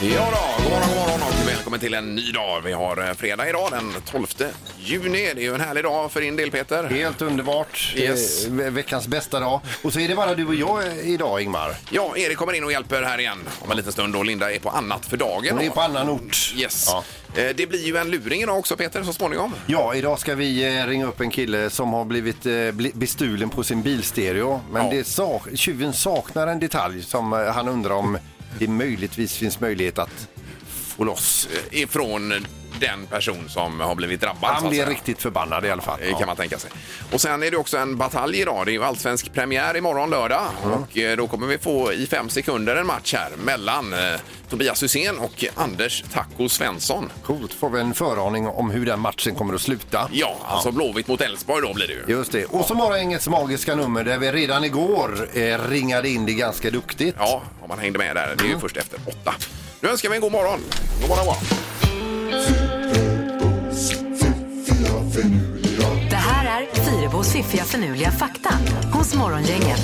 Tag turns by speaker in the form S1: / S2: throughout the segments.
S1: Ja då, god morgon, god morgon och välkommen till en ny dag. Vi har eh, fredag idag den 12 juni. Det är ju en härlig dag för din del Peter.
S2: Helt underbart. Det är
S1: Yes.
S2: ve- Veckans bästa dag. Och så är det bara du och jag eh, idag, Ingmar.
S1: Ja, Erik kommer in och hjälper här igen om en liten stund och Linda är på annat för dagen.
S2: Hon är
S1: då.
S2: på annan ort.
S1: Yes.
S2: Ja.
S1: Eh, Det blir ju en luring idag också Peter så småningom.
S2: Ja, idag ska vi eh, ringa upp en kille som har blivit eh, bli- bestulen på sin bilstereo. Men
S1: Ja.
S2: det sak tjuven saknar en detalj som eh, han undrar om det möjligtvis finns möjlighet att få loss.
S1: Eh, Ifrån den person som har blivit drabbad. så
S2: Han
S1: att
S2: blir
S1: säga.
S2: riktigt förbannad i alla fall.
S1: Eh, kan man tänka sig. Och sen är det också en batalj idag. Det är ju allsvensk premiär imorgon lördag.
S2: Mm.
S1: Och eh, då kommer vi få i fem sekunder en match här mellan eh, Tobias Hysén och Anders Taco Svensson.
S2: Coolt. Får vi en föraning om hur den matchen kommer att sluta.
S1: Ja, alltså Blåvitt mot Elfsborg då blir det ju.
S2: Just det. Och så Morgongängets magiska nummer där vi redan igår eh, ringade in det ganska duktigt.
S1: Ja, om man hängde med där. Det är
S2: Mm.
S1: ju först efter åtta. Nu önskar vi en god morgon. God morgon, god morgon.
S3: Det här är Fyrabos fiffiga förnuliga fakta hos Morgongänget.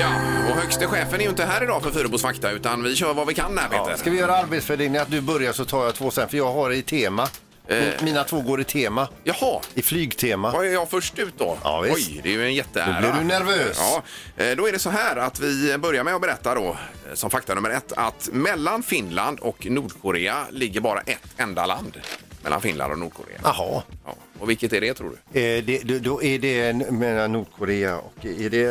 S1: Ja, och högste chefen är ju inte här idag för Fyrebos fakta utan vi kör vad vi kan här Peter.
S2: Ska vi göra arbetsfördelning att du börjar så tar jag två sen för jag har i tema.
S1: Eh.
S2: Min- Mina två går i tema.
S1: Jaha.
S2: I flygtema.
S1: Var är jag först ut då?
S2: Ja, visst.
S1: Oj, det är ju en jätteära.
S2: Då blir du nervös.
S1: Ja, eh, då är det så här att vi börjar med att berätta då, eh, som fakta nummer ett, att mellan Finland och Nordkorea ligger bara ett enda land. Mellan Finland och Nordkorea.
S2: Jaha.
S1: Ja. Och vilket är det tror du?
S2: Eh, det, då- då är det mellan Nordkorea och är det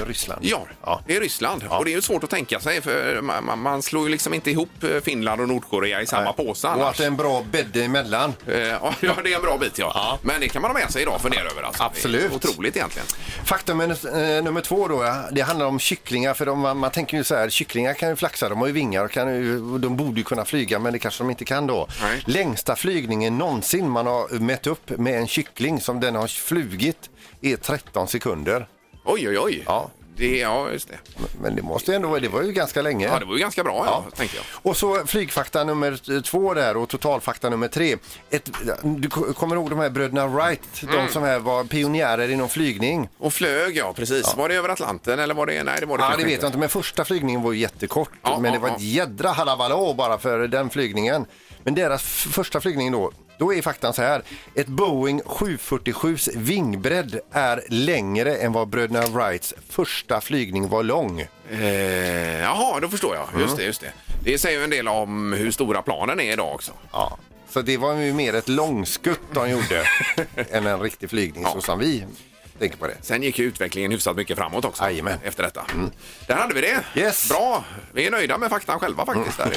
S2: eh, Ryssland?
S1: Ja,
S2: ja.
S1: det är Ryssland. Och det är ju svårt att tänka sig för man, man- man slår ju liksom inte ihop eh, Finland och Nordkorea i samma påse
S2: Och att
S1: annars.
S2: det är en bra bädd emellan.
S1: Eh, Ja, ja, det är en bra bit ja. Men det kan man ha med sig idag och fundera över. Alltså.
S2: Absolut.
S1: Det är otroligt egentligen.
S2: Faktum är, eh, nummer två då, ja, det handlar om kycklingar. För de, man, man tänker ju så här, kycklingar kan ju flaxa, de har ju vingar och kan, ju- de borde ju kunna flyga men det kanske de inte kan då.
S1: Nej.
S2: Längsta flygningen någonsin man har mätt upp med en kyckling som den har flugit är 13 sekunder.
S1: Oj, oj, oj.
S2: Ja.
S1: Det, ja, just det.
S2: Men det måste ju ändå vara, det var ju ganska länge.
S1: Ja, det var ju ganska bra, ja, tänkte jag.
S2: Och så flygfakta nummer två där och totalfakta nummer tre. Ett, du ko- kommer ihåg de här bröderna Wright, de
S1: Mm.
S2: som här var pionjärer inom flygning.
S1: Och flög, ja precis. Var det över Atlanten eller var det... Nej, det var det
S2: Ja,
S1: kanske
S2: det vet jag inte, men första flygningen var ju jättekort.
S1: Ja,
S2: men det
S1: ja,
S2: var
S1: ja.
S2: ett jädra halabalå bara för den flygningen. Men deras f- första flygning då, då är faktan så här. Ett Boeing 747s vingbredd är längre än vad bröderna Wrights första flygning var lång.
S1: Eh, jaha, då förstår jag. Just det, just det. Det säger ju en del om hur stora planen är idag också.
S2: Ja. Så det var ju mer ett långskutt de gjorde än en riktig flygning så som vi tänker på det.
S1: Sen gick ju utvecklingen hyfsat mycket framåt också.
S2: Jajamän.
S1: Efter detta. Mm. Där hade vi det.
S2: Yes.
S1: Bra. Vi är nöjda med faktan själva faktiskt. Där.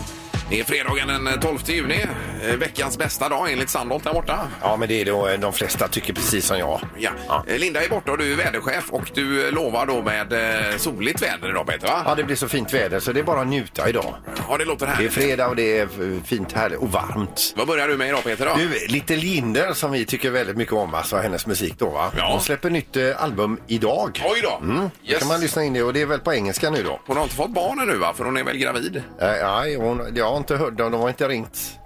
S1: Det är fredagen den 12 juni. Eh, Veckans bästa dag enligt Sandholt där borta.
S2: Ja, men det är då eh, de flesta tycker precis som jag.
S1: Ja. Eh, Linda är borta och du är väderchef och du eh, lovar då med eh, soligt väder idag Peter va?
S2: Ja, det blir så fint väder så det är bara att njuta idag.
S1: Ja, det låter
S2: Det är
S1: härligt.
S2: fredag och det är eh, fint härligt och varmt.
S1: Vad börjar du med idag Peter då?
S2: Du, Little Jinder som vi tycker väldigt mycket om, alltså hennes musik då va?
S1: Ja.
S2: Hon släpper nytt eh, album idag.
S1: Oj då!
S2: Då
S1: Yes.
S2: Mm, kan man lyssna in det och det är väl på engelska nu då?
S1: Hon har inte fått barn ännu va? För hon är väl gravid?
S2: Nej, nej, hon, jag har inte hört dem. De har inte ringt.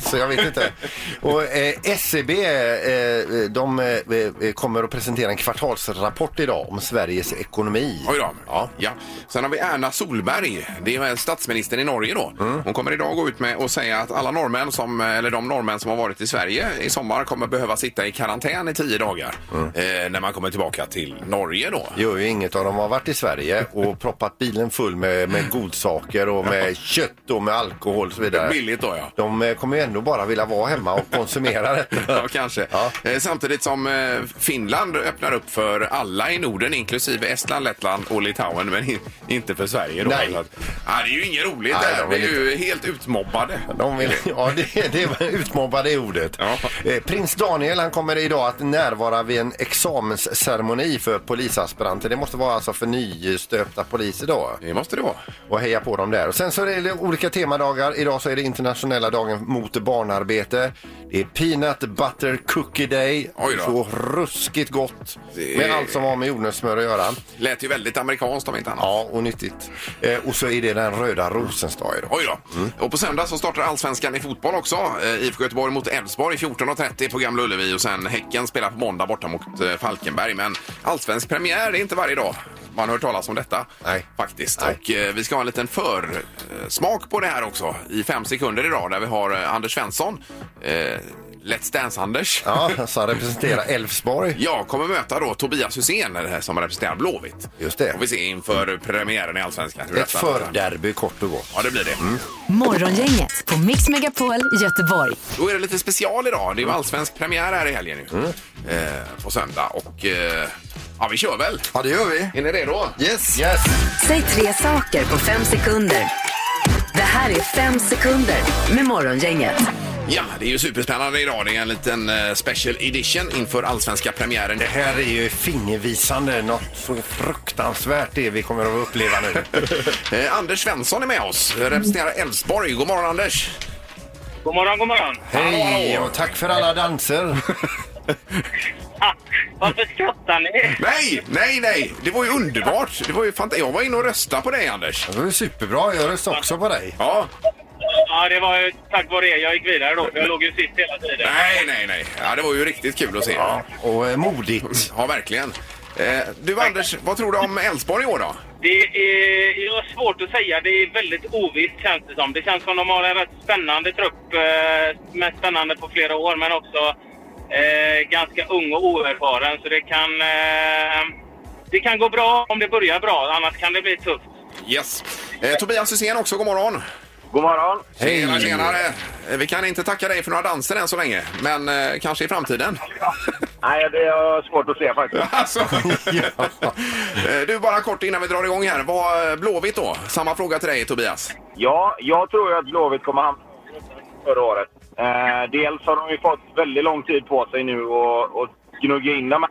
S2: Så jag vet inte. Och eh, SCB eh, de eh, kommer att presentera en kvartalsrapport idag om Sveriges ekonomi.
S1: Oj då.
S2: Ja.
S1: Ja. Sen har vi Erna Solberg, det är statsministern i Norge då.
S2: Mm.
S1: Hon kommer idag gå ut med och säga att alla norrmän som, eller de norrmän som har varit i Sverige i sommar kommer behöva sitta i karantän i tio dagar
S2: Mm.
S1: eh, när man kommer tillbaka till Norge då.
S2: Gör ju inget av dem har varit i Sverige och proppat bilen full med, med godsaker och med kött och med alkohol och så vidare.
S1: Billigt då ja.
S2: De eh, kommer ju ändå bara vilja vara hemma och konsumera
S1: Ja,
S2: detta.
S1: kanske.
S2: Ja.
S1: Eh, Samtidigt som eh, Finland öppnar upp för alla i Norden, inklusive Estland, Lettland och Litauen, men in, inte för Sverige. Då.
S2: Nej.
S1: Så att- Ja, det är ju inget roligt.
S2: Nej,
S1: det här
S2: de är
S1: blir ju helt utmobbade.
S2: De vill, ja, det, det var utmobbade i ordet.
S1: Ja.
S2: Eh, Prins Daniel han kommer idag att närvara vid en examensceremoni för polisaspiranter. Det måste vara alltså för nystöpta poliser då.
S1: Det måste det vara.
S2: Och heja på dem där. Och sen så är det olika temadagar. Idag så är det internationella dagen dagen mot barnarbete. Det är peanut butter cookie day.
S1: Oj då.
S2: Så ruskigt gott
S1: Det-
S2: med allt som har med jordnötssmör att göra.
S1: Lät ju väldigt amerikanskt om inte annat.
S2: Ja, och nyttigt. Eh, och så är det den röda rosens dag idag.
S1: Oj då. Och på söndag så startar Allsvenskan i fotboll också. Eh, IFK Göteborg mot Elfsborg 14.30 på Gamla Ullevi och sen Häcken spelar på måndag borta mot eh, Falkenberg. Men allsvensk premiär, det är inte varje dag man hör talas om detta.
S2: Nej.
S1: Faktiskt.
S2: Nej.
S1: Och eh, vi ska ha en liten försmak på det här också i fem sekunder idag där vi har eh, Anders Svensson, eh, Let's Dance-Anders.
S2: Ja, så han representerar Elfsborg.
S1: Jag kommer möta då Tobias Hysén eh, som representerar Blåvitt.
S2: Just det.
S1: Och vi ser inför premiären i Allsvenskan. hur
S2: Ett Mm.
S1: detta-
S2: förderby kort och gott.
S1: Ja, det blir det.
S3: Morgongänget på Mix Megapol Göteborg.
S1: Då är det lite special idag. Det är ju allsvensk premiär här i helgen nu. Eh, på söndag. Och eh, ja, vi kör väl.
S4: Ja, det gör vi.
S1: Är ni redo?
S4: Yes.
S2: Yes!
S3: Säg tre saker på fem sekunder. Det här är fem sekunder med Morgongänget.
S1: Ja, det är ju superspännande idag. Det är en liten eh, special edition inför allsvenska premiären.
S2: Det här är ju fingervisande. Något så fruktansvärt det vi kommer att uppleva nu.
S1: Eh, Anders Svensson är med oss. Representerar Elfsborg. God morgon Anders!
S5: God morgon, god morgon.
S2: Hej och tack för alla danser.
S5: Ah, varför skrattar ni?
S1: Nej, nej, nej! Det var ju underbart. Det var ju fant- Jag var inne och röstade på dig Anders.
S2: Det var ju superbra. Jag röstade också på dig.
S1: Ja,
S5: Ja, det var ju tack vare er jag gick vidare då. för Jag låg ju sist hela tiden.
S1: nej, nej, nej. Ja, det var ju riktigt kul att se.
S2: Och eh, modigt.
S1: Ja, verkligen. Eh, du Anders, vad tror du om Elfsborg i år då?
S5: Det är det är svårt att säga. Det är väldigt ovisst känns det som. Det känns som de har en rätt spännande trupp. Eh, mest spännande på flera år, men också eh, ganska ung och oerfaren. Så det kan, eh, det kan gå bra om det börjar bra. Annars kan det bli tufft.
S1: Yes. Eh, Tobias Hysén också, god morgon.
S5: God morgon.
S1: Tjena, tjenare. Eh, Vi kan inte tacka dig för några danser än så länge, men eh, kanske i framtiden.
S5: Nej, det är svårt att se faktiskt.
S1: alltså. Eh, du, bara kort innan vi drar igång här. Vad eh, Blåvitt då? Samma fråga till dig Tobias.
S6: Ja, jag tror ju att Blåvitt kommer hamna förra året. Eh, dels har de ju fått väldigt lång tid på sig nu och, och gnugga in de här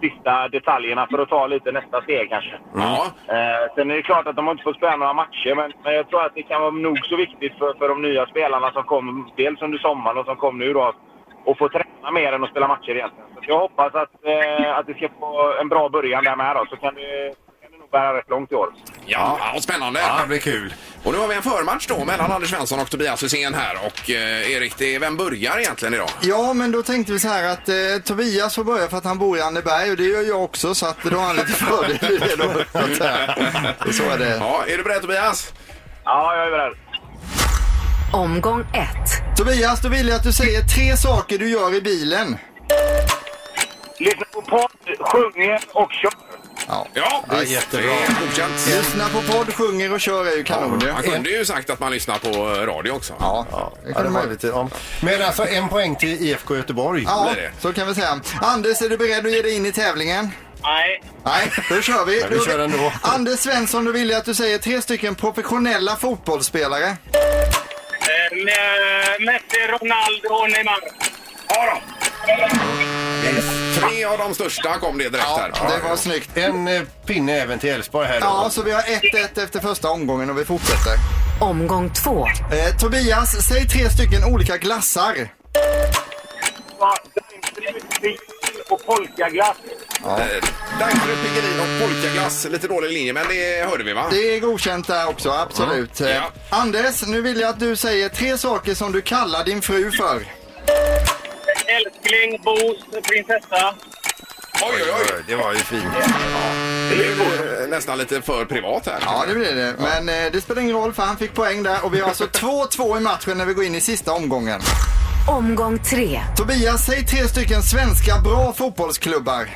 S6: sista detaljerna för att ta lite nästa steg kanske.
S1: Ja.
S6: Eh, sen är det klart att de har inte fått spela några matcher, men, men jag tror att det kan vara nog så viktigt för, för de nya spelarna som kom dels under sommaren och som kom nu då, att få träna mer än att spela matcher egentligen. Så jag hoppas att, eh, att det ska få en bra början där med då, så kan det, kan det nog bära rätt långt i år.
S1: Ja, ja spännande.
S2: Ja, det blir kul.
S1: Och nu har vi en förmatch då mellan Anders Svensson och Tobias Hysén här. Och eh, Erik, det är, vem börjar egentligen idag?
S4: Ja, men då tänkte vi så här att eh, Tobias får börja för att han bor i Anneberg och det gör jag också så att då har han lite fördel i det då. Så att säga. Så är det.
S1: Ja, är du beredd Tobias?
S6: Ja, jag är beredd.
S3: Omgång ett.
S4: Tobias, då vill jag att du säger tre saker du gör i bilen.
S6: Lyssna på podd, sjunger och kör.
S4: Ja.
S1: Ja,
S4: Ja, jättebra.
S1: Det är godkänt.
S4: Lyssna på podd, sjunger och kör är ju kanon ju.
S1: Han kunde ju sagt att man lyssnar på eh, radio också.
S4: Ja, det
S2: Ja, det
S4: kan
S2: var
S4: man
S2: lite, ja. Men alltså en poäng till IFK Göteborg.
S4: Ja,
S1: blir det.
S4: så kan vi säga. Anders, är du beredd att ge dig in i tävlingen?
S5: Nej,
S4: Nej, då kör vi.
S2: Men vi kör ändå.
S4: Anders Svensson, då vill jag att du säger tre stycken professionella fotbollsspelare.
S5: eh, med- Messi, Ronaldo och Neymar.
S1: Ja då. Tre av de största kom det direkt här.
S4: Ja, det var snyggt.
S2: En eh, pinne även till Elfsborg här då.
S4: Ja, så vi har 1-1 efter första omgången och vi fortsätter.
S3: Omgång två.
S4: Eh, Tobias, säg tre stycken olika glassar.
S6: Ja, Daimler, och polkaglass.
S1: Eh, Dankare, Piggelin och polkaglass. Lite dålig linje, men det hörde vi va?
S4: Det är godkänt där också, absolut.
S1: Mm.
S4: Eh,
S1: Ja.
S4: Anders, nu vill jag att du säger tre saker som du kallar din fru för.
S5: Älskling, Bos, prinsessa.
S1: Oj, oj, oj.
S2: Det var ju fint.
S1: Det är ju, eh, nästan lite för privat här.
S4: Ja, det blir det. Men eh, det spelar ingen roll för han fick poäng där och vi har alltså 2-2 i matchen när vi går in i sista omgången.
S3: Omgång tre.
S4: Tobias, säg tre stycken svenska bra fotbollsklubbar.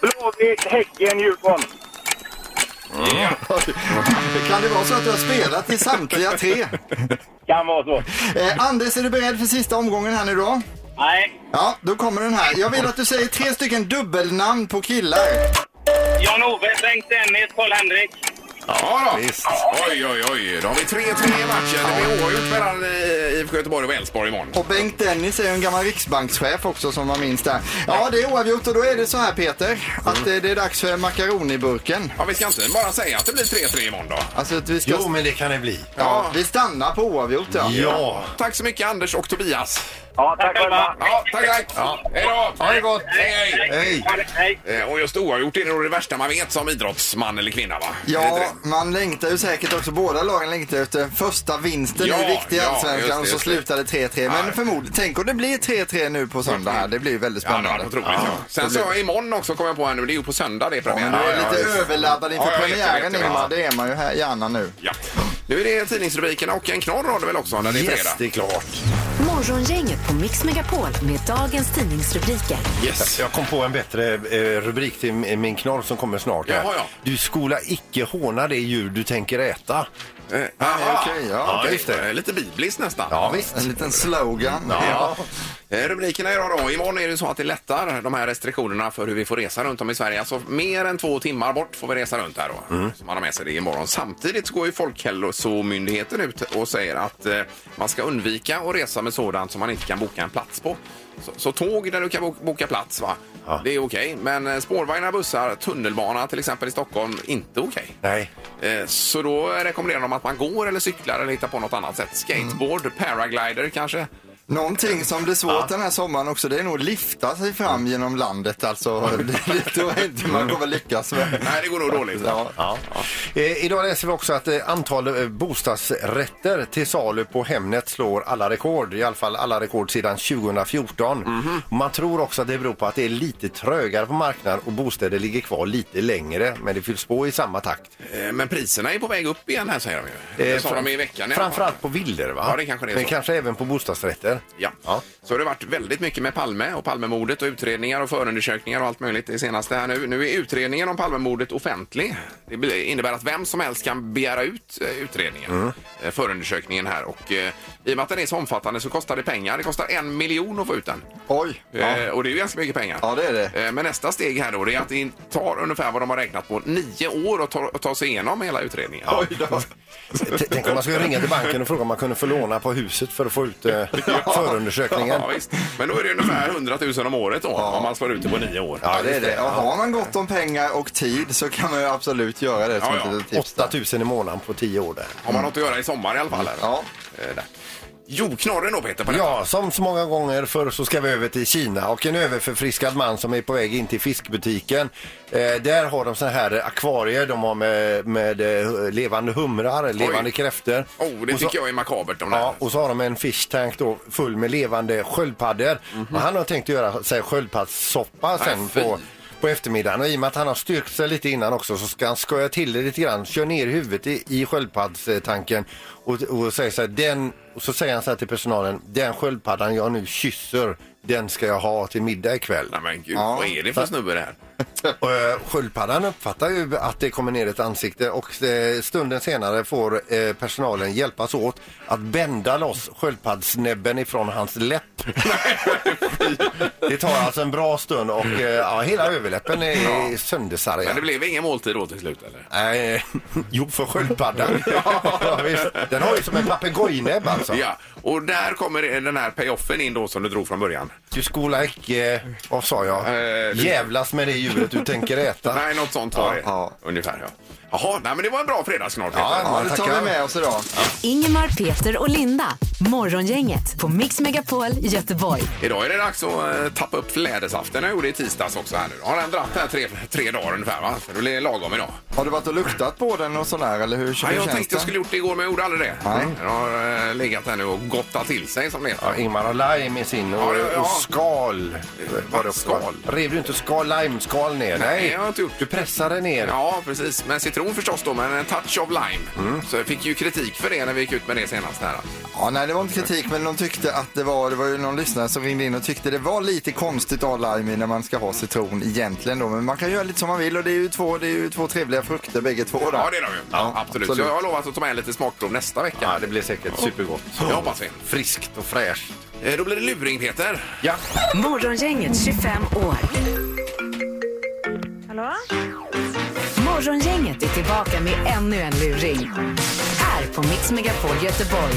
S6: Blåvitt, Häcken, Djurgården.
S4: Kan det vara så att du har spelat i samtliga tre?
S6: Kan vara så.
S4: Eh, Anders, är du beredd för sista omgången här nu då?
S5: Nej.
S4: Ja, då kommer den här. Jag vill att du säger tre stycken dubbelnamn på killar.
S5: Jan-Ove, Bengt-Dennis, Karl-Henrik.
S1: Ja, då.
S2: Visst.
S1: Oj, oj, oj. Då har vi 3-3 i matchen. Det blir oavgjort mellan eh, IFK Göteborg och Elfsborg imorgon.
S4: Och Bengt Dennis är ju en gammal riksbankschef också som var minst där. Ja, det är oavgjort och då är det så här Peter, att
S1: Mm.
S4: eh, det är dags för makaroniburken.
S1: Ja, vi ska inte bara säga att det blir 3-3 imorgon då.
S4: Alltså att vi ska...
S2: Jo, men det kan det bli.
S4: Ja, vi stannar på oavgjort ja.
S2: Ja.
S1: Tack så mycket Anders och Tobias.
S6: Ja, tack själva.
S1: Ja, tack, tack. Hej då.
S2: Ha det gott.
S1: Hej, hej.
S2: Hej.
S5: Hej.
S1: Eh, Och just oavgjort är det nog det värsta man vet som idrottsman eller kvinna va? Är det inte
S4: Ja,
S1: det?
S4: man längtar ju säkert också. Båda lagen längtar efter den första vinsten
S1: Ja,
S4: i viktiga
S1: ja, just det,
S4: allsvenskan och så
S1: just det.
S4: slutar det 3-3.
S1: Ja.
S4: Men förmodligen, tänk om det blir 3-3 nu på söndag här. Det blir ju väldigt
S1: Ja, det
S4: spännande.
S1: var otroligt. Ja. Sen så jag imorgon också kommer jag på här nu, det är ju på söndag det är
S4: Ja,
S1: premiär.
S4: men du är
S1: Ja,
S4: lite
S1: ja, ja.
S4: överladdad inför
S1: Ja, jag vet, jag vet,
S4: premiären
S1: jag vet.
S4: Ingmar. Det är man ju här gärna nu.
S1: Ja. Nu är det tidningsrubrikerna och en knorr har du väl också när det är
S2: Yes, det
S1: fredag?
S2: är klart.
S3: Morgongänget på Mix Megapol med dagens tidningsrubriker.
S1: Yes.
S2: Jag kom på en bättre eh, rubrik till min min knorr som kommer snart. här.
S1: Jaha, ja. Du...
S2: Du skola icke håna det djur du tänker äta.
S1: Eh,
S4: Nej,
S1: aha.
S4: okej, ja,
S1: ja,
S4: okej.
S1: just det. Lite bibliskt nästan.
S2: visst.
S4: En liten slogan.
S1: Ja. Eh, Rubrikerna idag då. Imorgon är det så att det lättar de här restriktionerna för hur vi får resa runt om i Sverige. Alltså mer än två timmar bort får vi resa runt här då. Så man har med sig det imorgon. Samtidigt så går ju Folkhälsomyndigheten ut och säger att eh, man ska undvika att resa med sådant som man inte kan boka en plats på. Så, så tåg där du kan bo- boka plats va?
S2: Ja.
S1: Det är okej. Men eh, spårvagnar, bussar, tunnelbana till exempel i Stockholm, inte okej.
S2: Nej.
S1: Eh, Så då rekommenderar de att man går eller cyklar eller hittar på något annat sätt. Skateboard, paraglider kanske?
S4: Någonting som blir svårt den här sommaren också, det är nog att lifta sig fram genom landet. Alltså, det tror jag inte man
S1: Mm.
S4: kommer lyckas med.
S1: Nej, det går nog dåligt.
S4: Ja.
S2: Ja. Eh, idag läser vi också att eh, antal eh, bostadsrätter till salu på Hemnet slår alla rekord. I alla fall alla rekord sedan 2014. Man tror också att det beror på att det är lite trögare på marknaden och bostäder ligger kvar lite längre. Men det fylls på i samma takt.
S1: Eh, Men priserna är på väg upp igen här säger de ju.
S4: Eh,
S1: Det sa
S2: Eh, fram-
S1: de i veckan. i alla fall.
S2: Framförallt på villor va?
S1: Ja, det kanske det är
S2: Men
S1: så.
S2: kanske även på bostadsrätter.
S1: Ja.
S2: Ja.
S1: så har det varit väldigt mycket med Palme och Palmemordet och utredningar och förundersökningar och allt möjligt det senaste här nu. Nu är utredningen om Palmemordet offentlig. Det blir- innebär att vem som helst kan begära ut eh, utredningen,
S4: Mm.
S1: eh, förundersökningen här och eh, i och med att den är så omfattande så kostar det pengar. Det kostar en miljon att få ut den.
S4: Oj. Ja.
S1: Eh, Och det är ju ganska mycket pengar.
S4: Ja, det är det.
S1: Eh, Men nästa steg här då det är att det tar ungefär vad de har räknat på nio år att ta, att ta sig igenom hela utredningen.
S4: Oj då.
S2: Eh, T- Tänk om man skulle ringa till banken och fråga om man kunde få låna på huset för att få ut eh, förundersökningen.
S1: Ja, visst. Men då är det ungefär 100 000 om året då, om man slår ut det på nio år.
S4: Ja, det är det. Och har man gott om pengar och tid så kan man ju absolut göra det som
S1: Ja,
S4: ett
S1: ja.
S4: litet tips.
S2: 8 000 i månaden på 10 år där.
S1: Har man något att göra i sommar i alla fall? Här.
S4: Ja.
S1: Eh, där. Jo, knorren då Peter på detta.
S2: Ja, som så många gånger förr så ska vi över till Kina och en överförfriskad man som är på väg in till fiskbutiken. Eh, där har de så här akvarier, de har med, med eh, levande humrar, levande kräftor.
S1: Oh, det
S2: Och så-
S1: tycker jag är makabert om det här.
S2: Ja, och så har de en fish tank då full med levande sköldpaddor. Och han har tänkt göra så här, sköldpaddssoppa sen
S1: fy.
S2: på, på eftermiddagen. Och i och med att han har styrkt sig lite innan också så ska han skoja till det lite grann. Kör ner huvudet i, i sköldpaddstanken och, och säger så här, den, och så säger han så här till personalen, den sköldpaddan jag nu kysser, den ska jag ha till middag ikväll.
S1: Nej men gud,
S4: Ja.
S1: vad är det för snubbe det här?
S2: Och, eh, Sköldpaddan uppfattar ju att det kommer ner ett ansikte och eh, stunden senare får eh, personalen hjälpas åt att bända loss sköldpaddsnäbben ifrån hans läpp. det tar alltså en bra stund och eh, ja, hela överläppen är
S1: Men det
S2: söndersargad.
S1: blev ingen måltid då till slut eller?
S2: Nej, jo för sköldpaddan. ja, visst. Den har ju som en papegojnäbb alltså.
S1: Ja, och där kommer den här payoffen in då som du drog från början.
S2: Du skola icke, vad sa jag,
S1: Eh, du-
S2: jävlas med det djuret du tänker äta.
S1: Nej, något sånt var det.
S4: Ja.
S1: Ungefär ja. Jaha, nej men det var en bra fredagsknorr Peter.
S2: Ja,
S4: Ja, det tar
S2: tackar.
S4: vi med oss idag.
S3: Ingemar, Peter och Linda. Morgongänget på Mix Megapol Göteborg.
S1: Idag är det dags att eh, tappa upp lädersaften. Jag gjorde det i tisdags också. Här nu. Har den dratt här tre, tre dagar ungefär va? För det blir lagom idag.
S4: Har du varit och luktat på den och sådär eller hur, hur
S1: Ja, jag
S4: känns
S1: tänkte
S4: det?
S1: jag skulle gjort det igår men jag gjorde aldrig det.
S4: Nej.
S1: Den har eh, legat här nu och gottat till sig som det
S2: Ja,
S1: heter.
S2: Ingmar har lime i sin och,
S1: Ja, ja, ja.
S2: och skal. Var det också?
S1: Skal?
S2: Rev du inte skal, limeskal ner?
S1: Nej, jag har inte gjort.
S2: Du pressade ner.
S1: Ja, precis. Men citron förstås då, men en touch of lime. Så jag fick ju kritik för det när vi gick ut med det senast här.
S4: Ja, nej, det var inte kritik, men de tyckte att det var, det var ju någon lyssnare som ringde in och tyckte det var lite konstigt att ha lime i när man ska ha citron egentligen då. Men man kan göra lite som man vill och det är ju två, det är ju två trevliga frukter bägge två då.
S1: Ja, det är de ju.
S4: Ja,
S1: absolut. Så
S4: absolut.
S1: jag har lovat att ta med lite smakprov nästa vecka.
S2: Ja, det blir säkert supergott.
S1: Det hoppas vi.
S2: Friskt och fräscht.
S1: Eh, Då blir det luring, Peter.
S2: Ja.
S3: Morgongänget 25 år.
S7: Hallå?
S3: Morgongänget är tillbaka med ännu en luring. Här på Mix Megapol Göteborg.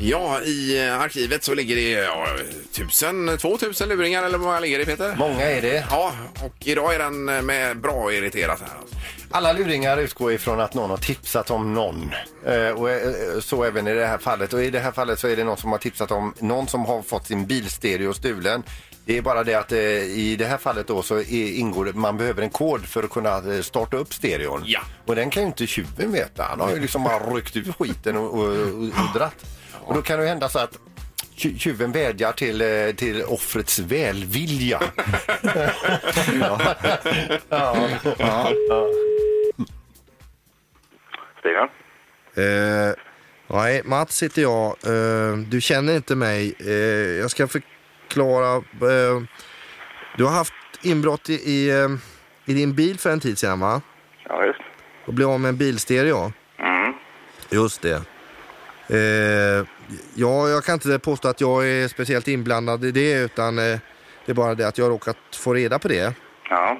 S1: Ja, i eh, arkivet så ligger det ja, tusen, två tusen luringar eller vad många ligger det Peter?
S2: Många är det.
S1: Ja, och idag är den eh, med bra irriterat här. alltså.
S2: Alla luringar utgår ifrån att någon har tipsat om någon. Eh, och, eh, så även i det här fallet. Och i det här fallet så är det någon som har tipsat om någon som har fått sin bilstereo stulen. Det är bara det att eh, i det här fallet då så är, ingår det, man behöver en kod för att kunna eh, starta upp stereon.
S1: Ja.
S2: Och den kan ju inte tjuven veta. Han har ju liksom bara ryckt ut skiten och, och, och, och dratt. Och då kan det ju hända så att tju- Tjuven vädjar till, eh, till offrets välvilja. ja.
S6: Stigen?
S7: Eh, nej, Mats heter jag. Eh, du känner inte mig. Eh, jag ska förklara. Eh, du har haft inbrott i, i, eh, i din bil för en tid sedan, va?
S6: Ja, just.
S7: Och blev av med en bilstereo.
S6: Mm.
S7: Just det. Eh, ja, jag kan inte påstå att jag är speciellt inblandad i det, utan eh, det är bara det att jag har råkat få reda på det.
S6: Ja.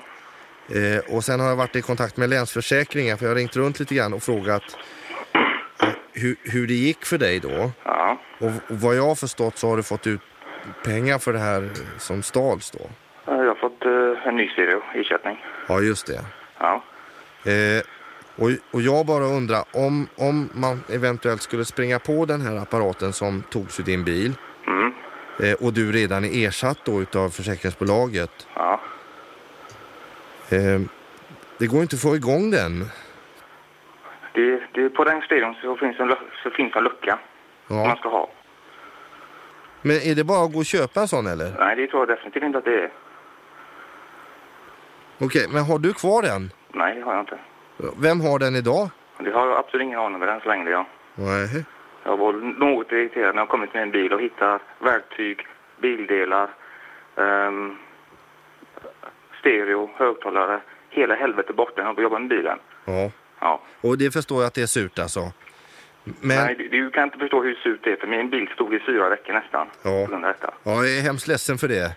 S7: Eh, och sen har jag varit i kontakt med Länsförsäkringen för jag har ringt runt lite grann och frågat eh, hur, hur det gick för dig då.
S6: Ja.
S7: Och, och vad jag har förstått så har du fått ut pengar för det här eh, som stals då.
S6: Jag har fått eh, en ny stereo, ersättning.
S7: Ja, just det.
S6: Ja.
S7: Eh, och, och jag bara undrar, om, om man eventuellt skulle springa på den här apparaten som togs ur din bil
S6: Mm.
S7: eh, och du redan är ersatt då utav försäkringsbolaget.
S6: Ja.
S7: Eh, det går inte att få igång den.
S6: Det, det, på den stereon så finns en, lu- så finns en lucka som man
S7: Ja.
S6: ska ha.
S7: Men är det bara att gå och köpa en sån eller?
S6: Nej, det tror jag definitivt inte att det är.
S7: Okej, men har du kvar den?
S6: Nej, det har jag inte.
S7: Vem har den idag?
S6: Det har jag absolut ingen aning om än så länge. Ja.
S7: Nej.
S6: Jag var något irriterad när jag kommit med en bil och hittat verktyg, bildelar, ehm, stereo, högtalare. Hela helvetet borta när jag började jobba med bilen.
S7: Ja,
S6: Ja.
S7: och det förstår jag att det är surt alltså. Men,
S6: Nej, du, du kan inte förstå hur surt det är för min bil stod i fyra veckor nästan.
S7: Ja.
S6: På grund av detta.
S7: ja, jag är hemskt ledsen för det.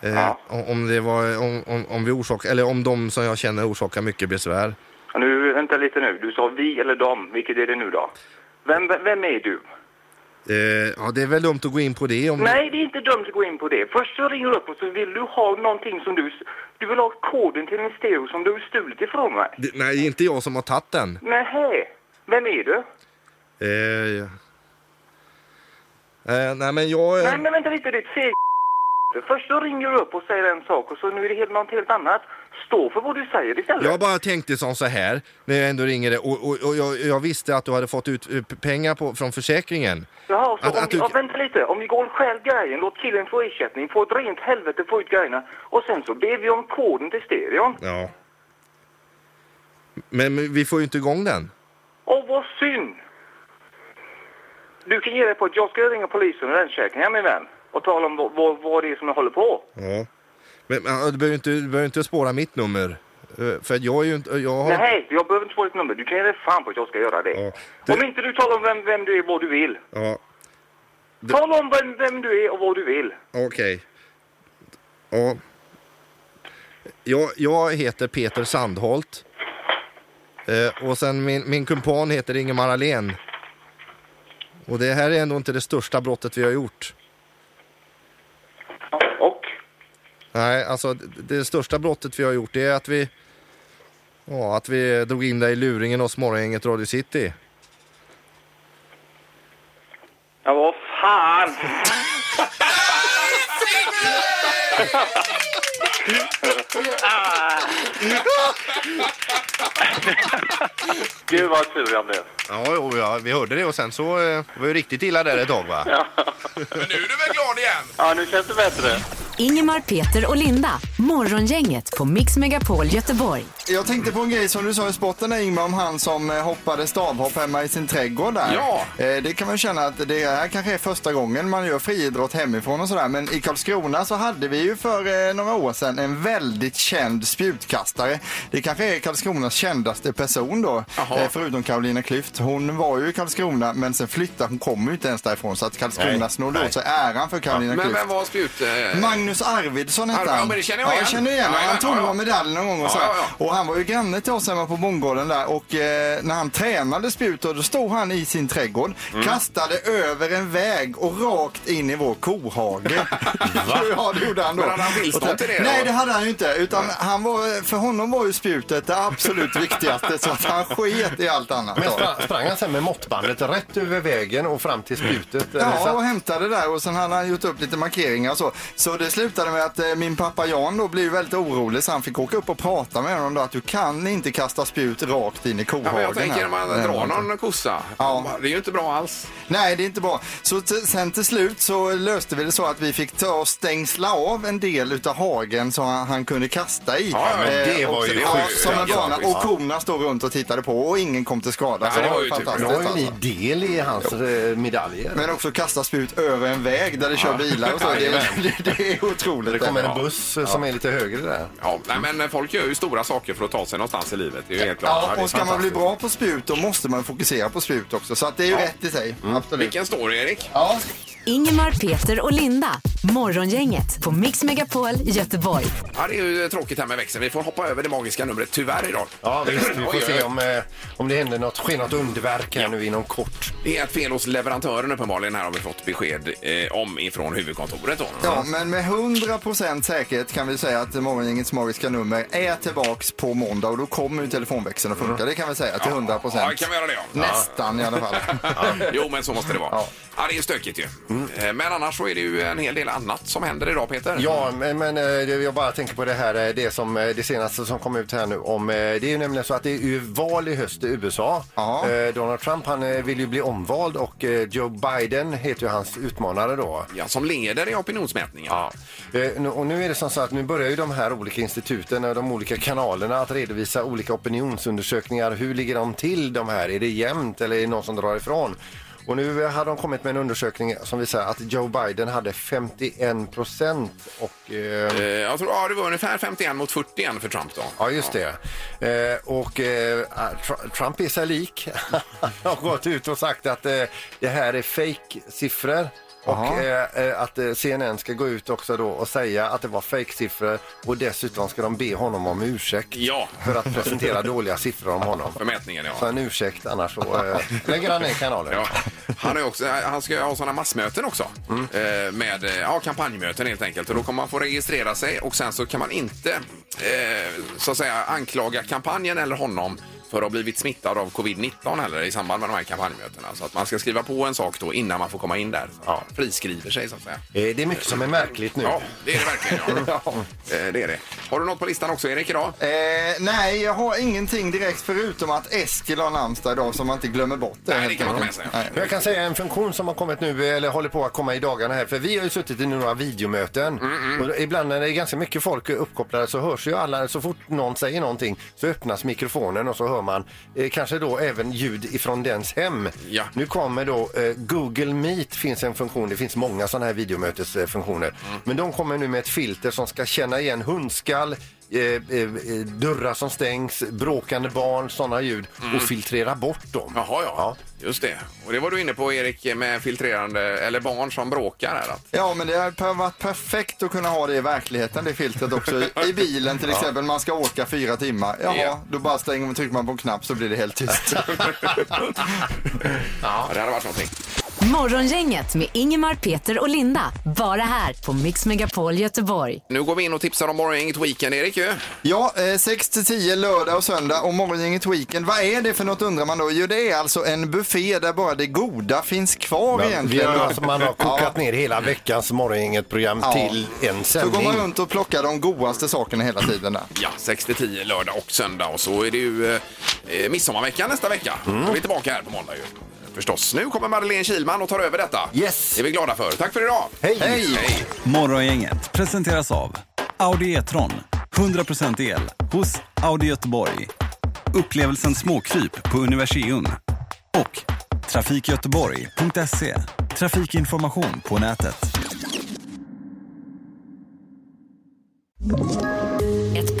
S7: Eh,
S6: Ja.
S7: om- Om det var, om, om, om vi orsakar, eller om de som jag känner orsakar mycket besvär.
S6: Ja, nu, vänta lite nu. Du sa vi eller dem. Vilket är det nu då? Vem, vem- vem är du?
S7: Eh, ja, det är väl dumt att gå in på det om
S6: Nej, det är inte dumt att gå in på det. Först så ringer du upp och så vill du ha någonting som du... Du vill ha koden till en stereo som du har stulit ifrån mig.
S7: Det, nej, det är inte jag som har tagit den.
S6: Nähä. Vem är du?
S7: Eh, ja. eh, nej, men jag...
S6: Nej, men vänta lite, ditt feg... Först så ringer du upp och säger en sak och så nu är det helt, något helt annat. Stå för vad du säger istället.
S7: Jag bara tänkte som så här, när jag ändå ringer dig, och, och, och jag, jag visste att du hade fått ut eh, p- pengar på, från försäkringen.
S6: Jaha, så
S7: Att-
S6: om,
S7: att du-
S6: ja, vänta lite. Om vi går och stjäl grejen, låt killen få ersättning, få ett rent helvete, få ut grejerna och sen så ber vi om koden till stereon.
S7: Ja. Men, men vi får ju inte igång den.
S6: Åh, vad synd! Du kan ge dig på att jag ska ringa polisen och länsförsäkringen, min vän, och tala om vad, vad, vad det är som jag håller på.
S7: Ja. Men, men ja, du behöver inte, du behöver inte spåra mitt nummer. Eh, För att jag är ju inte... Jag har...
S6: Nej, jag behöver inte få ditt nummer. Du kan ge dig fan på att jag ska göra det.
S7: Ja, du-
S6: Om inte du talar om vem, vem du är, vad du vill.
S7: Ja,
S6: Tala om vem, vem du är och vad du vill.
S7: okej. Ja. Jag, jag heter Peter Sandholt. Eh, och sen min, min kumpan heter Ingemar Ahlén. Och det här är ändå inte det största brottet vi har gjort.
S6: Och?
S7: Nej, alltså det, det största brottet vi har gjort det är att vi... Ja, att vi drog in dig i luringen hos morgongänget Radio City.
S6: Ja, vad fan! Ah. Gud vad sur jag blev.
S7: Ja, jo, ja, vi hörde det och sen så eh, var ju riktigt illa där ett tag va?
S1: Men nu är du väl glad igen?
S6: Ja, nu känns det bättre.
S3: Ingemar, Peter och Linda. Morgongänget på Mix Megapol Göteborg.
S4: Jag tänkte på en grej som du sa i sporten där Ingmar om han som eh, hoppade stavhopp hemma i sin trädgård där.
S1: Ja.
S4: Eh, Det kan man ju känna att det här kanske är första gången man gör friidrott hemifrån och sådär. Men i Karlskrona så hade vi ju för eh, några år sedan en väldigt känd spjutkastare. Det kanske är Karlskronas kändaste person då.
S1: Jaha.
S4: Eh, Förutom Carolina Klüft. Hon var ju i Karlskrona men sen flyttade hon, kommer ju inte ens därifrån. Så att Karlskrona
S2: Nej,
S4: snodde
S2: nej.
S4: åt sig äran för Carolina
S1: Men
S4: Klüft.
S1: vem var spjut... eh,
S4: Magnus Arvidsson hette
S1: Arvid-
S4: han.
S1: ja, men det känner jag igen.
S4: Ja, känner igen honom.
S1: Ja,
S4: Han
S1: ja, ja,
S4: tog
S1: ja.
S4: någon medalj någon gång och
S1: Ja,
S4: så.
S1: ja,
S4: Och han var ju granne till oss hemma på bondgården där och eh, när han tränade spjut då stod han i sin trädgård,
S1: Mm.
S4: kastade över en väg och rakt in i vår kohage. ja, det gjorde han då.
S1: Men hade han tillstånd
S4: Och sen-
S1: till det då?
S4: Nej, det hade han ju inte. Utan han var, för honom var ju spjutet det absolut viktigaste så att han sket i allt annat.
S2: Men
S4: då.
S2: sprang, sprang han sen med måttbandet rätt över vägen och fram till spjutet? eller
S4: Ja, och
S2: så?
S4: hämtade där och sen hade han gjort upp lite markeringar och så. Så det slutade med att eh, min pappa Jan då blev väldigt orolig så han fick åka upp och prata med honom då att du kan inte kasta spjut rakt in i
S1: Ja,
S4: kohagen.
S1: men jag tänker om man
S4: här.
S1: drar någon kossa.
S4: Ja.
S1: Det är ju inte bra alls.
S4: Nej, det är inte bra. Så t- sen till slut så löste vi det så att vi fick ta och stängsla av en del utav hagen som han, han kunde kasta i. Eh,
S1: Ja, ja, men
S2: det
S4: och
S2: var
S4: så-
S2: ju
S4: ja,
S2: sjukt.
S4: Som en
S1: Ja,
S4: bana.
S1: visst.
S4: Och korna stod runt och tittade på och ingen kom till skada.
S1: Ja,
S4: så
S1: det
S4: det
S1: var
S4: var
S1: ju typ- tur.
S2: Då
S4: fantastiskt.
S2: har
S4: alltså.
S2: ju ni del i hans eh, medaljer.
S4: Men också kasta spjut över en väg där det kör bilar och så. Det, det, det är otroligt.
S2: Det kommer en buss eh, som är lite högre där.
S1: Ja, nej, men folk gör ju stora saker för att ta sig någonstans i livet. Det är ju helt klart.
S4: Ja,
S1: det är
S4: och ska man bli
S1: fantastiskt.
S4: bra på spjut då måste man fokusera på spjut också. Så att det är ju rätt i sig.
S1: Mm.
S4: Absolut.
S1: Vilken story, Erik.
S4: Ja.
S3: Ingemar, Peter och Linda. Morgongänget på Mix Megapol Göteborg.
S1: Ja, det är ju tråkigt här med växeln. Vi får hoppa över det magiska numret, tyvärr, idag.
S2: Ja, visst. Vi
S1: Oj,
S2: får
S1: oj,
S2: se
S1: oj.
S2: om, eh, om det händer något, sker något underverk här nu inom kort.
S1: Det är ett fel hos leverantören uppenbarligen. Här har vi fått besked eh, om ifrån huvudkontoret. Då.
S4: Ja, men med 100% säkerhet kan vi säga att Morgongängets magiska nummer är tillbaks på måndag och då kommer ju telefonväxeln att funka. Det kan vi säga till 100%.
S1: Mm. Ja, kan vi göra det, ja.
S4: Nästan i alla fall.
S1: Jo, men så måste det vara. Ja. det är ju stökigt ju. Eh, Men annars så är det ju en hel del annat som händer idag, Peter.
S2: Ja, men, men eh, jag bara tänker på det här, eh, det, som, eh, det senaste som kom ut här nu. Om, eh, det är ju nämligen så att det är ju val i höst i USA.
S4: Ja.
S2: Eh, Donald Trump han eh, vill ju bli omvald och eh, Joe Biden heter ju hans utmanare då.
S1: Ja, som leder i opinionsmätningen.
S2: Ja. Eh, nu- Och nu är det som så att nu börjar ju de här olika instituten och de olika kanalerna att redovisa olika opinionsundersökningar. Hur ligger de till de här? Är det jämnt eller är det någon som drar ifrån? Och nu har de kommit med en undersökning som visar att Joe Biden hade 51 procent och eh,
S1: Eh, Jag tror ja, det var ungefär 51 mot 41 för Trump då.
S2: Ja, just det. Eh, och eh, Tr- Trump är sig lik. Han har gått ut och sagt att eh, det här är fake siffror och
S4: Jaha.
S2: eh, eh, att eh, CNN ska gå ut också då och säga att det var fake siffror och dessutom ska de be honom om ursäkt
S1: Ja.
S2: för att presentera dåliga siffror om honom.
S1: För mätningen, ja.
S2: Så en ursäkt, annars så eh, lägger han ner kanalen.
S1: Ja, han, är också, han ska ju ha sådana massmöten också. Eh, Med eh, ja, kampanjmöten helt enkelt. Och då kommer man få registrera sig och sen så kan man inte eh, så att säga anklaga kampanjen eller honom för att ha blivit smittad av covid-19 heller i samband med de här kampanjmötena. Så att man ska skriva på en sak då innan man får komma in där.
S2: Ja.
S1: Friskriver sig så att säga.
S2: Eh, det är mycket som är märkligt nu.
S1: Ja, det är det verkligen. Ja. Eh, Det är det. Har du något på listan också Erik idag?
S4: Eh, nej, jag har ingenting direkt förutom att Eskil har namnsdag idag så man inte glömmer bort det.
S1: Nej, det kan man ta med sig.
S4: Nej.
S2: Men Jag kan säga en funktion som har kommit nu, eller håller på att komma i dagarna här, för vi har ju suttit i några videomöten
S1: Mm,
S2: och ibland när det är ganska mycket folk uppkopplade så hörs ju alla, så fort någon säger någonting så öppnas mikrofonen och så hör man eh, kanske då även ljud ifrån dens hem.
S1: Ja.
S2: Nu kommer då eh, Google Meet finns en funktion, det finns många sådana här videomötesfunktioner,
S1: Mm.
S2: men de kommer nu med ett filter som ska känna igen hundskall, eh, eh, eh, dörrar som stängs, bråkande barn, sådana ljud och filtrera bort dem.
S1: Jaha, Mm. ja. Just det. Och det var du inne på Erik med filtrerande, eller barn som bråkar här. Att
S4: Ja, men det har per- varit perfekt att kunna ha det i verkligheten, det filtret också. I, i bilen till exempel, man ska åka fyra timmar. Jaha,
S1: Ja.
S4: då bara stänger man, trycker man på en knapp så blir det helt tyst.
S1: Ja, det hade varit någonting.
S3: Morgongänget med Ingemar, Peter och Linda. Bara här på Mix Megapol Göteborg.
S1: Nu går vi in och tipsar om morgongänget Weekend, Erik. Ju.
S4: Ja, eh, 6 till 10 lördag och söndag och morgongänget weekend. Vad är det för något undrar man då? Jo, det är alltså en buffé där bara det goda finns kvar
S2: Vi
S4: egentligen.
S2: har,
S4: då.
S2: alltså, man har kokat ner hela veckans Morgongänget-program
S4: Ja.
S2: till en
S4: Så går
S2: sändning.
S4: man runt och plockar de godaste sakerna hela tiden där.
S1: Ja, 6-10 lördag och söndag. Och så är det ju eh, eh, midsommarveckan nästa vecka.
S2: Mm.
S1: Då är vi tillbaka här på måndag ju. Förstås. Nu kommer Madeleine Kilman och tar över detta.
S2: Yes.
S1: Det är vi glada för. Tack för idag!
S2: Hej!
S1: Hej.
S8: Morgongänget presenteras av Audi E-tron. 100% el hos Audi Göteborg. Upplevelsen småkryp på Universium. Och trafikgöteborg.se. Trafikinformation på nätet.
S3: Ett